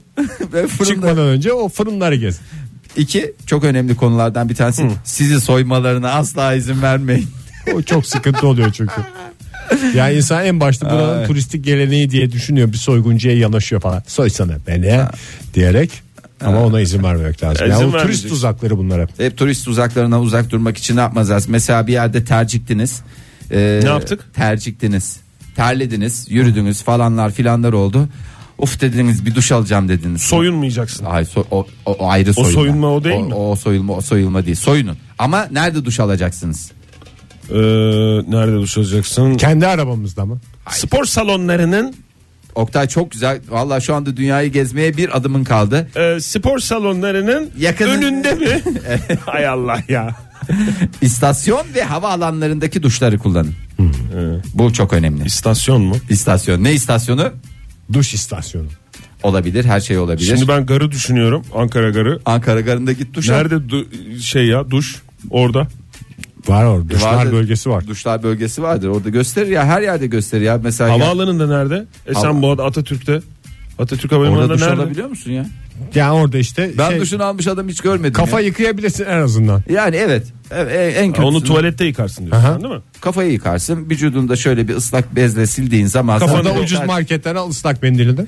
C: Ve fırında.
B: Çıkmadan önce o fırınları gez.
C: İki çok önemli konulardan bir tanesi. Sizi soymalarına asla izin vermeyin.
B: O çok sıkıntı oluyor çünkü. Yani insan en başta buranın
C: Ay.
B: turistik geleneği diye düşünüyor. Bir soyguncuya yanaşıyor falan. Soysana beni diyerek ama ona izin vermemek lazım.
D: İzin
B: Yani o
D: vermeyeceksin.
B: turist tuzakları bunlar hep.
C: Hep turist uzaklarına uzak durmak için ne yapmaz lazım? Mesela bir yerde terciktiniz. Ee,
D: Ne yaptık?
C: Terciktiniz. Terlediniz, yürüdünüz falanlar filanlar oldu. Uf dediniz bir duş alacağım dediniz.
D: Soyunmayacaksın.
C: Ay, so- o, o- o ayrı soyunma.
D: soyunma o değil mi?
C: O, o soyulma o soyulma değil. Soyunun. Ama nerede duş alacaksınız?
D: Ee, nerede duş alacaksın?
B: Kendi arabamızda mı?
D: Spor salonlarının
C: Oktay çok güzel. Valla şu anda dünyayı gezmeye bir adımın kaldı.
D: e, spor salonlarının
C: Yakın-
D: önünde mi? Hay Allah ya.
C: İstasyon ve hava alanlarındaki duşları kullanın. Bu çok önemli.
D: İstasyon mu?
C: İstasyon. Ne istasyonu?
B: Duş istasyonu.
C: Olabilir. Her şey olabilir.
D: Şimdi ben garı düşünüyorum. Ankara garı.
C: Ankara garında git duş al.
D: Nerede du- şey ya duş orada.
B: Var orada. Duşlar
C: Vardır.
B: bölgesi var.
C: Duşlar bölgesi vardır. Orada gösterir ya. Her yerde gösterir ya. Mesela ya-
D: Havaalanında nerede? Esenboğa'da Atatürk'te. Atatürk
C: orada
D: Havalimanı'nda
C: duş
D: nerede?
C: alabiliyor musun ya?
B: Yani orada işte
C: Ben
B: şey,
C: duşunu almış adam hiç görmedim.
B: kafa
C: ya.
B: yıkayabilirsin en azından.
C: Yani evet. Evet, e- En kötüsü.
D: Onu tuvalette yıkarsın diyorsun
B: Aha.
D: değil mi?
C: kafayı yıkarsın. Vücudunda şöyle bir ıslak bezle sildiğin zaman
D: Kafanı
B: Orada
D: da-
B: ucuz marketten al ıslak mendilini.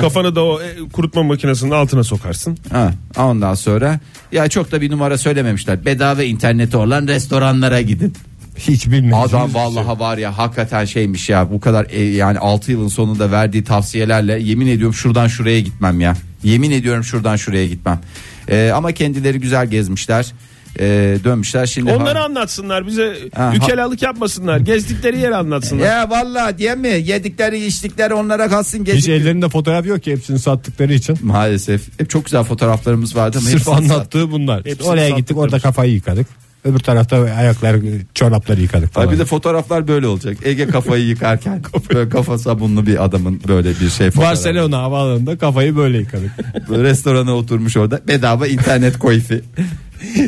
D: Kafanı da o e, kurutma makinesinin altına sokarsın.
C: Ha, ondan sonra ya çok da bir numara söylememişler. Bedava interneti olan restoranlara gidin.
B: Hiç bilmediğiniz
C: Adam
B: bir şey.
C: vallahi var ya hakikaten şeymiş ya bu kadar e, yani 6 yılın sonunda verdiği tavsiyelerle yemin ediyorum şuradan şuraya gitmem ya. Yemin ediyorum şuradan şuraya gitmem. E, ama kendileri güzel gezmişler. e, dönmüşler. Şimdi
D: Onları
C: ha-
D: anlatsınlar bize.
C: Ha,
D: Ükelalık yapmasınlar. Gezdikleri yeri anlatsınlar.
C: ya vallahi diye mi? Yedikleri içtikleri onlara kalsın.
B: Hiç
C: Gecik...
B: ellerinde fotoğraf yok ki hepsini sattıkları için.
C: Maalesef. Hep çok güzel fotoğraflarımız vardı ama
B: Sırf
C: hepsini
B: anlattığı bunlar.
D: Hepsini
B: Oraya
D: sattık
B: gittik orada
D: demiş.
B: kafayı yıkadık. Öbür tarafta ayaklar çorapları yıkadık
C: Ay
B: falan.
C: bir de fotoğraflar böyle olacak. Ege kafayı yıkarken böyle kafa sabunlu bir adamın böyle bir şey fotoğrafı.
B: Barcelona havaalanında kafayı böyle yıkadık.
C: Restorana oturmuş orada. Bedava internet koyfi.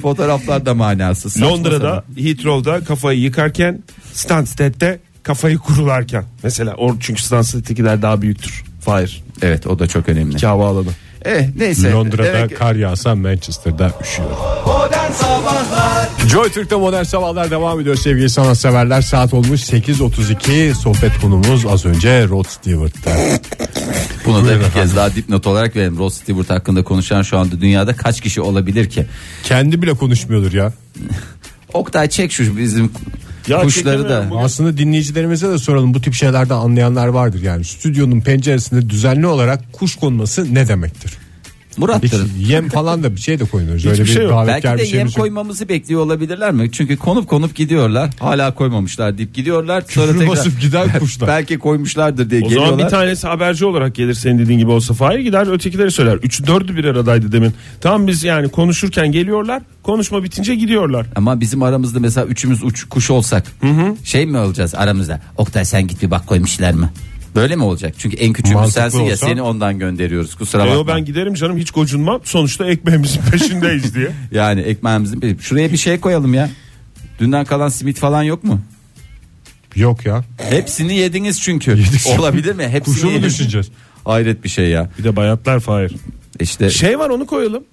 C: Fotoğraflar da manasız. Saçma
D: Londra'da Heathrow'da kafayı yıkarken Stansted'de kafayı kurularken. Mesela or çünkü Stansted'dekiler daha büyüktür. Fahir.
C: sapan. Evet o da çok önemli.
D: İki havaalanı.
C: Eh, neyse.
B: Şey, Londra'da
C: Demek-
B: kar yağsa Manchester'da üşüyor. Joy Türk'te modern sabahlar devam ediyor sevgili sanatseverler. Saat olmuş 8.32 sohbet konumuz az önce Rod Stewart'ta.
C: Bunu da bir kez daha dipnot olarak verelim. Rod Stewart hakkında konuşan şu anda dünyada kaç kişi olabilir ki?
B: Kendi bile konuşmuyordur ya.
C: Oktay çek şu bizim
D: Ya
C: kuşları da.
D: çekemiyorum bu-
B: Aslında dinleyicilerimize de soralım bu tip şeylerde anlayanlar vardır. Yani stüdyonun penceresinde düzenli olarak kuş konması ne demektir? Hiç
C: Murat'tır.
B: yem falan da bir şey de koymuyoruz. Öyle bir
D: şey yok.
B: davetkar
C: Belki
B: bir
C: de yem
B: şeyimiz yok.
C: koymamızı bekliyor olabilirler mi? Çünkü konup konup gidiyorlar. Hala koymamışlar deyip gidiyorlar. Sonra
B: Küfür
C: tekrar-
B: basıp giden kuşlar.
C: Belki koymuşlardır diye
D: O
C: geliyorlar.
D: zaman bir tanesi haberci olarak gelir senin dediğin gibi olsa Fahir gider ötekileri söyler. Üçü dördü bir aradaydı demin. Tam biz yani konuşurken geliyorlar konuşma bitince gidiyorlar.
C: Ama bizim aramızda mesela üçümüz uç, kuş olsak şey mi olacağız aramızda? Oktay sen git bir bak koymuşlar mı? Böyle mi olacak? Çünkü en küçüğümüz
B: Mantıklı
C: sensin ya
B: olsa-
C: seni ondan gönderiyoruz kusura bakma.
D: E, Yo, ben giderim canım hiç gocunmam sonuçta ekmeğimizin peşindeyiz diye.
C: Yani ekmeğimizin şuraya bir şey koyalım ya. Dünden kalan simit falan yok mu?
B: Yok ya.
C: Hepsini yediniz çünkü. Olabilir mi? Hepsini
B: Kuşu mu
C: yediniz.
B: düşüneceğiz?
C: Hayret bir şey ya.
D: Bir de bayatlar Fahir.
C: İşte
D: Şey var onu koyalım.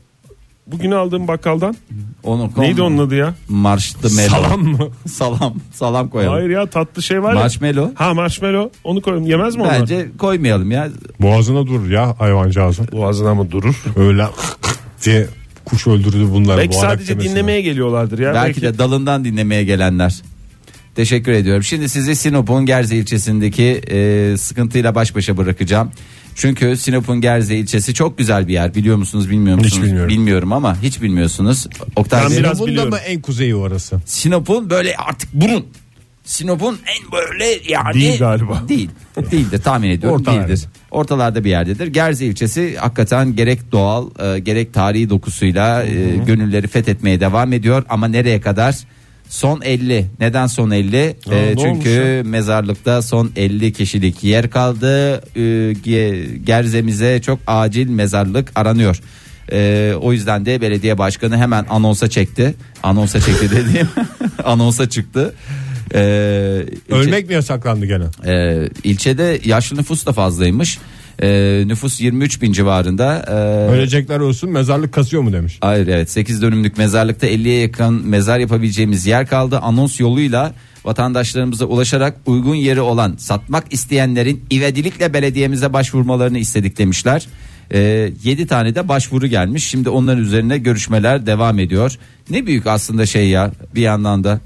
D: Bugün aldığım bakkaldan.
C: onu
D: Neydi onun adı ya?
C: Marşlı melo.
B: Salam mı?
C: Salam. Salam koyalım.
D: Hayır ya tatlı şey var ya.
C: Marshmallow.
D: Ha marshmallow. Onu koyalım. Yemez mi onlar?
C: Bence koymayalım ya.
B: Boğazına durur ya hayvancağızın.
D: Boğazına mı durur?
B: Öyle diye kuş öldürdü bunlar.
D: Belki
B: boğanak
D: sadece
B: demesine.
D: dinlemeye geliyorlardır ya.
C: Belki de dalından dinlemeye gelenler. Teşekkür ediyorum. Şimdi sizi Sinop'un Gerze ilçesindeki e, sıkıntıyla baş başa bırakacağım. Çünkü Sinop'un Gerze ilçesi çok güzel bir yer. Biliyor musunuz bilmiyor musunuz?
B: bilmiyorum.
C: ama hiç bilmiyorsunuz. Oktay
D: Ben
C: Bey-
D: biraz
B: Bunda
D: biliyorum.
B: mı en kuzeyi orası?
C: Sinop'un böyle artık burun. Sinop'un en böyle yani
D: Değil galiba.
C: Değil. Değildir tahmin ediyorum
B: Orta
C: değildir. Ortalarda bir yerdedir. Gerze ilçesi hakikaten gerek doğal e, gerek tarihi dokusuyla e, gönülleri fethetmeye devam ediyor ama nereye kadar? Son 50. Neden son 50? E,
D: ne olmuş
C: çünkü mezarlıkta son 50 kişilik yer kaldı. E, Ge- Gerze'mize çok acil mezarlık aranıyor. E, o yüzden de belediye başkanı hemen anonsa çekti. Anonsa çekti dediğim anonsa çıktı. E, ilçe-
B: Ölmek mi yasaklandı gene?
C: e, ilçede yaşlı nüfus da fazlaymış. E, nüfus 23 bin civarında. E,
B: Ölecekler olsun mezarlık kasıyor mu demiş.
C: Hayır evet 8 dönümlük mezarlıkta 50'ye yakın mezar yapabileceğimiz yer kaldı. Anons yoluyla vatandaşlarımıza ulaşarak uygun yeri olan satmak isteyenlerin ivedilikle belediyemize başvurmalarını istedik demişler. 7 tane de başvuru gelmiş. Şimdi onların üzerine görüşmeler devam ediyor. Ne büyük aslında şey ya bir yandan da.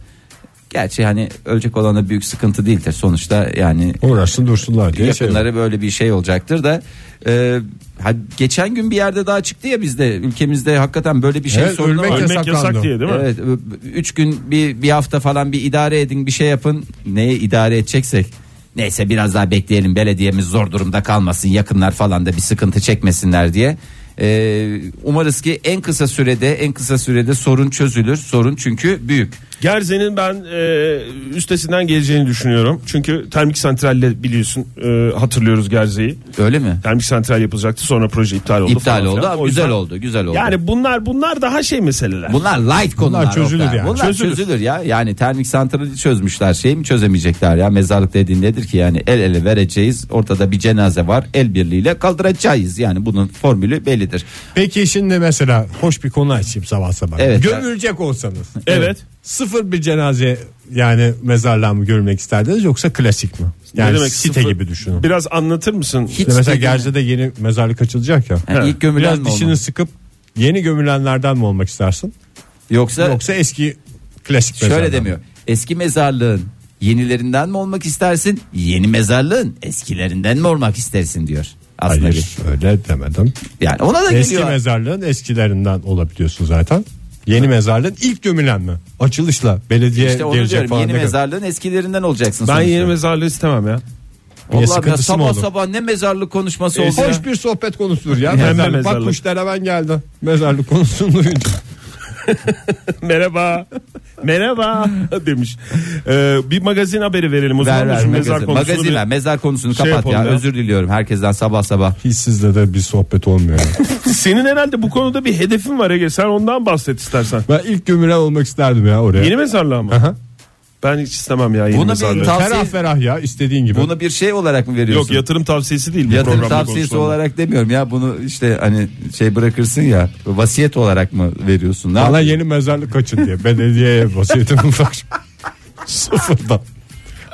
C: Gerçi hani ölecek olana büyük sıkıntı değildir sonuçta yani
B: Uğraşsın dursunlar diye şey.
C: yakınları böyle bir şey olacaktır da e, ha- geçen gün bir yerde daha çıktı ya bizde ülkemizde hakikaten böyle bir şey
B: Evet,
C: sorunu
B: ölmek
C: var.
D: Ölmek
B: Yasaklandı.
D: yasak diye değil mi?
C: Evet, ö- üç gün bir bir hafta falan bir idare edin bir şey yapın neye idare edeceksek. Neyse biraz daha bekleyelim belediyemiz zor durumda kalmasın yakınlar falan da bir sıkıntı çekmesinler diye. E, umarız ki en kısa sürede en kısa sürede sorun çözülür sorun çünkü büyük.
D: Gerze'nin ben e, üstesinden geleceğini düşünüyorum. Çünkü termik santralle biliyorsun e, hatırlıyoruz Gerze'yi.
C: Öyle mi?
D: Termik santral yapılacaktı sonra proje iptal oldu.
C: İptal
D: falan
C: oldu
D: filan.
C: ama
D: O yüzden-
C: güzel oldu güzel oldu.
D: Yani bunlar bunlar daha şey meseleler.
C: Bunlar light konular. Bunlar
B: çözülür yani.
C: Bunlar çözülür.
D: Çözülür.
C: ya. Yani termik santrali çözmüşler. Şey mi çözemeyecekler ya? Mezarlık dediğin nedir ki yani? El ele vereceğiz. Ortada bir cenaze var. El birliğiyle kaldıracağız. Yani bunun formülü bellidir.
B: Peki şimdi mesela hoş bir konu açayım sabah sabah.
C: Evet.
B: Gömülecek olsanız.
D: Evet.
B: Sıfır bir cenaze yani mezarlığa mı gömülmek isterdiniz yoksa klasik mi? Yani
D: ne demek
B: site
D: sıfır-
B: gibi düşünün.
D: Biraz anlatır mısın?
C: Hiç
B: Şimdi mesela
C: dediğin-
B: Gerze'de yeni mezarlık açılacak ya.
C: Yani ilk gömülen mi
B: Biraz dişini
C: olmalı?
B: sıkıp yeni gömülenlerden mi olmak istersin?
C: Yoksa,
B: Yoksa eski klasik
C: şöyle
B: mezardan mı?
C: demiyor. Eski mezarlığın yenilerinden mi olmak istersin? Yeni mezarlığın eskilerinden mi olmak istersin diyor. Aslında
B: Hayır
C: bir.
B: öyle demedim.
C: Yani ona da
B: Eski
C: geliyor.
B: mezarlığın eskilerinden olabiliyorsun zaten. Yeni mezarlığın ilk gömülen mi? Açılışla belediye
C: İşte onu
B: gelecek
C: diyorum
B: falan.
C: yeni
B: ne kadar-
C: mezarlığın eskilerinden olacaksın.
D: Ben
C: sonuçta.
D: yeni mezarlığı istemem ya.
B: Niye,
C: Vallahi ben
B: sıkıntısı mı
C: sabah
B: olur?
C: sabah ne mezarlık konuşması oldu ya.
B: Hoş bir sohbet konusudur ya.
D: Hem de
B: Mezarlık.
D: mezarlık.
B: Bak kuşlar hemen geldi. Mezarlık konusunu duyunca.
D: Merhaba. Merhaba demiş. Ee, bir magazin haberi verelim o
C: Ver
D: zaman.
C: ver
D: Şu
C: magazin.
D: konusunu
C: Magazin
D: bir-
C: ver, mezar konusunu
D: şey
C: kapat ya.
D: yapalım ya.
C: Özür diliyorum herkesten sabah sabah.
B: Hiç sizle de bir sohbet olmuyor. ya.
D: Senin herhalde bu konuda bir hedefin var Ege. Sen ondan bahset istersen.
B: ben ilk gömülen olmak isterdim ya oraya.
D: Yeni mezarlığa mı?
B: Aha.
D: Ben hiç istemem ya yeni
C: Buna bir
D: mezarlığı.
C: ta-
B: Ferah
C: Tavsiye-
B: ferah ya istediğin gibi.
C: Bunu bir şey olarak mı veriyorsun?
D: Yok yatırım tavsiyesi değil bu
C: Yatırım
D: programda
C: tavsiyesi
D: konuşulan.
C: olarak demiyorum ya bunu işte hani şey bırakırsın ya vasiyet olarak mı veriyorsun? Ne
B: Bana
C: yap-
B: yeni mezarlık açın diye belediyeye vasiyetim var. Sıfırdan.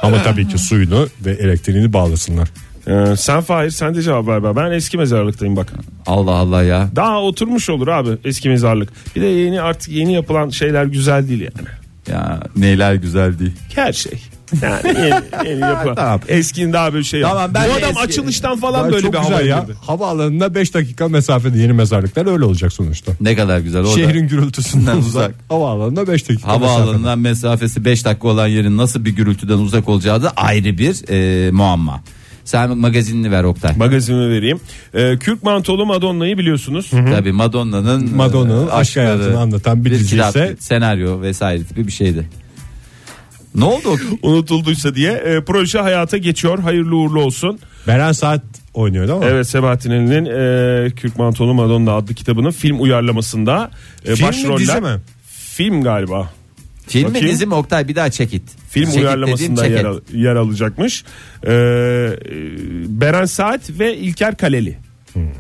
B: Ama tabii ki suyunu ve elektriğini bağlasınlar.
D: Ee, sen Fahir sen de cevap ver. be. Ben eski mezarlıktayım bak.
C: Allah Allah ya.
D: Daha oturmuş olur abi eski mezarlık. Bir de yeni artık yeni yapılan şeyler güzel değil yani.
C: Ya neyler güzel değil.
D: Her şey. Yani yeni, yeni yapılan.
C: Tamam.
D: Eskinin daha böyle şey.
C: Tamam, ben
D: Bu
C: de
D: adam
C: eski-
D: açılıştan falan
B: Daha
D: böyle
B: çok
D: bir
B: güzel
D: hava
B: ya.
D: girdi.
B: Havaalanında 5 dakika mesafede yeni mezarlıklar öyle olacak sonuçta.
C: Ne kadar güzel orada.
B: Şehrin gürültüsünden
C: Uzak.
B: uzak. Havaalanında 5 dakika mesafede.
C: Havaalanından mesafesi 5 dakika olan yerin nasıl bir gürültüden uzak olacağı da ayrı bir e, muamma. Sen magazinini ver Oktay.
D: Magazini vereyim. Ee, Kürk mantolu Madonna'yı biliyorsunuz.
C: Tabii Madonna'nın
B: Madonna'nın
C: e,
B: aşk hayatını anlatan bir dizi
C: kitap,
B: ise-
C: senaryo vesaire tipi bir şeydi. Ne oldu? o?
D: Unutulduysa diye. Ee, proje hayata geçiyor. Hayırlı uğurlu olsun.
B: Beren Saat oynuyordu ama.
D: Evet Sebahattin Ali'nin e, Kürk Mantolu Madonna adlı kitabının film uyarlamasında e,
B: Film mi,
D: başroller.
B: dizi mi?
D: Film galiba.
C: Film mi
D: Bakayım.
C: dizi mi Oktay bir daha çek it.
D: Film
C: Check it
D: uyarlamasında
C: dediğim
D: yer,
C: check
D: al-
C: it.
D: yer alacakmış. E, e, Beren Saat ve İlker Kaleli.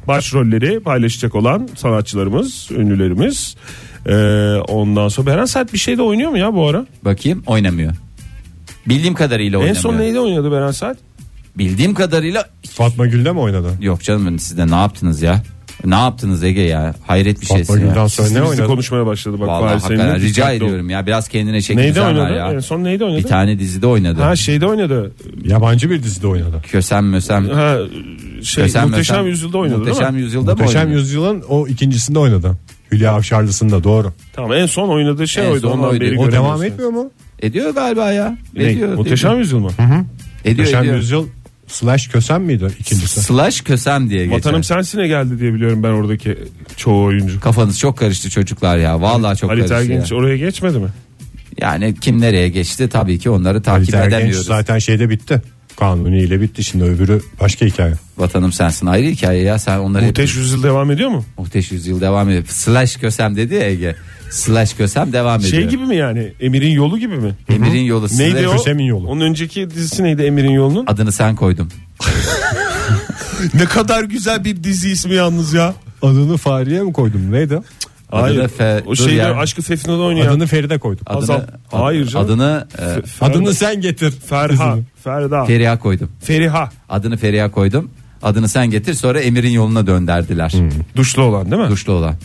D: Başrolleri paylaşacak olan sanatçılarımız, ünlülerimiz. E, ondan sonra Beren Saat bir şeyde oynuyor mu ya bu ara?
C: Bakayım oynamıyor. Bildiğim kadarıyla
D: En
C: oynamıyor.
D: son neyde oynuyordu Beren Saat?
C: Bildiğim kadarıyla
B: Fatma Gül'de mi oynadı?
C: yok canım siz de ne yaptınız ya? Ne yaptınız Ege ya? Hayret bir şey
B: Fatma
C: şeysin ya.
B: Gül'den sonra ne
D: Biz de
B: oynadı?
D: konuşmaya başladı bak.
C: Vallahi
D: Fahir
C: hakikaten
D: Sevin'in.
C: rica
D: Dikkatli ol.
C: ediyorum ya biraz kendine çeki
D: Neyde
C: düzen ver
D: oynadı?
C: ya.
D: En son neyde oynadı?
C: Bir tane dizide oynadı.
D: Ha şeyde oynadı.
B: Yabancı bir dizide oynadı.
C: Kösem mösem.
D: Ha, şey,
C: Kösem
D: muhteşem
C: mösem.
D: yüzyılda oynadı
C: Muhteşem
D: değil mi?
C: yüzyılda mı
B: Muhteşem
C: oynadı?
B: Yüzyıl'ın o ikincisinde oynadı. Hülya Avşarlısı'nda doğru.
D: Tamam en son oynadığı şey
C: En
D: oydu.
C: son
D: Ondan
C: oydu.
D: beri
C: O
B: O
D: göremiyoruz.
B: devam etmiyor mu?
C: Ediyor galiba ya.
D: Ne?
C: Ediyor. değil
D: Muhteşem
C: mi?
D: yüzyıl mı?
C: Ediyor,
B: Muhteşem
C: ediyor.
B: Yüzyıl slash kösem miydi ikincisi?
C: Slash kösem diye geçer.
D: Vatanım sensine geldi diye biliyorum ben oradaki çoğu oyuncu.
C: Kafanız çok karıştı çocuklar ya. Vallahi çok
D: Ali
C: karıştı.
D: Tergenç
C: ya.
D: oraya geçmedi mi?
C: Yani kim nereye geçti tabii ki onları
B: Ali
C: takip
B: Tergenç
C: edemiyoruz.
B: zaten şeyde bitti. Kanuni ile bitti şimdi öbürü başka hikaye.
C: Vatanım sensin ayrı hikaye ya. Sen onları
D: Muhteş yüzyıl devam ediyor mu?
C: Muhteş Yüzyıl devam ediyor. Slash kösem dedi ya Ege. Slash kösem devam ediyor.
D: Şey gibi mi yani? Emir'in yolu gibi mi?
C: Emir'in yolu.
D: Neydi
C: slash-
D: o?
B: Kösem'in yolu.
D: Onun önceki dizisi neydi Emir'in yolunun?
C: Adını sen koydum.
D: ne kadar güzel bir dizi ismi yalnız ya.
B: Adını Fahriye mi koydum neydi?
C: Adını
D: Hayır.
C: Fe-
D: o
C: dur
D: şeyde
C: ya.
D: Aşkı Fefno'da oynayan.
B: Adını Feride koydum.
C: Adını,
D: Azam. Hayır canım.
C: Adını e,
B: Adını sen getir.
D: Ferha.
B: Kızını.
D: Ferda.
C: Feriha koydum.
D: Feriha.
C: Adını Feriha koydum. Adını sen getir sonra Emir'in yoluna dönderdiler.
B: Hmm.
D: Duşlu olan değil mi?
C: Duşlu olan.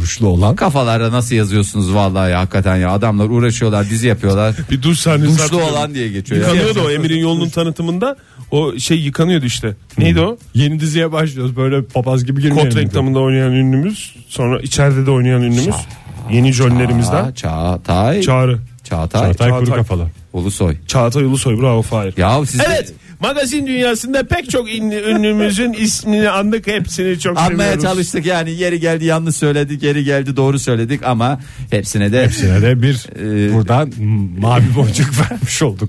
B: Ruşlu olan.
C: Kafalarda nasıl yazıyorsunuz vallahi ya hakikaten ya adamlar uğraşıyorlar dizi yapıyorlar.
D: Bir duş sahnesi.
C: Duşlu
D: hatırlıyorum.
C: olan diye geçiyor ya.
D: Yıkanıyordu o Emir'in yolunun tanıtımında. O şey yıkanıyordu işte. Neydi o?
B: Yeni diziye başlıyoruz böyle papaz gibi girmeyelim.
D: Kot
B: dedi.
D: reklamında oynayan ünlümüz. Sonra içeride de oynayan ünlümüz. Yeni jönlerimizden.
C: Aa, Çağatay.
D: Çağrı.
C: Çağatay.
B: Çağatay Kuru
D: Çağatay.
B: Kafalı.
C: Ulusoy.
D: Çağatay Ulusoy bravo Fahir.
C: Ya siz de-
D: Evet. Magazin dünyasında pek çok ünlü- ünlümüzün ismini andık. Hepsini çok
C: Anmaya
D: seviyoruz.
C: çalıştık yani yeri geldi yanlış söyledik geri geldi doğru söyledik ama hepsine de
B: Yine de bir buradan mavi boncuk vermiş olduk.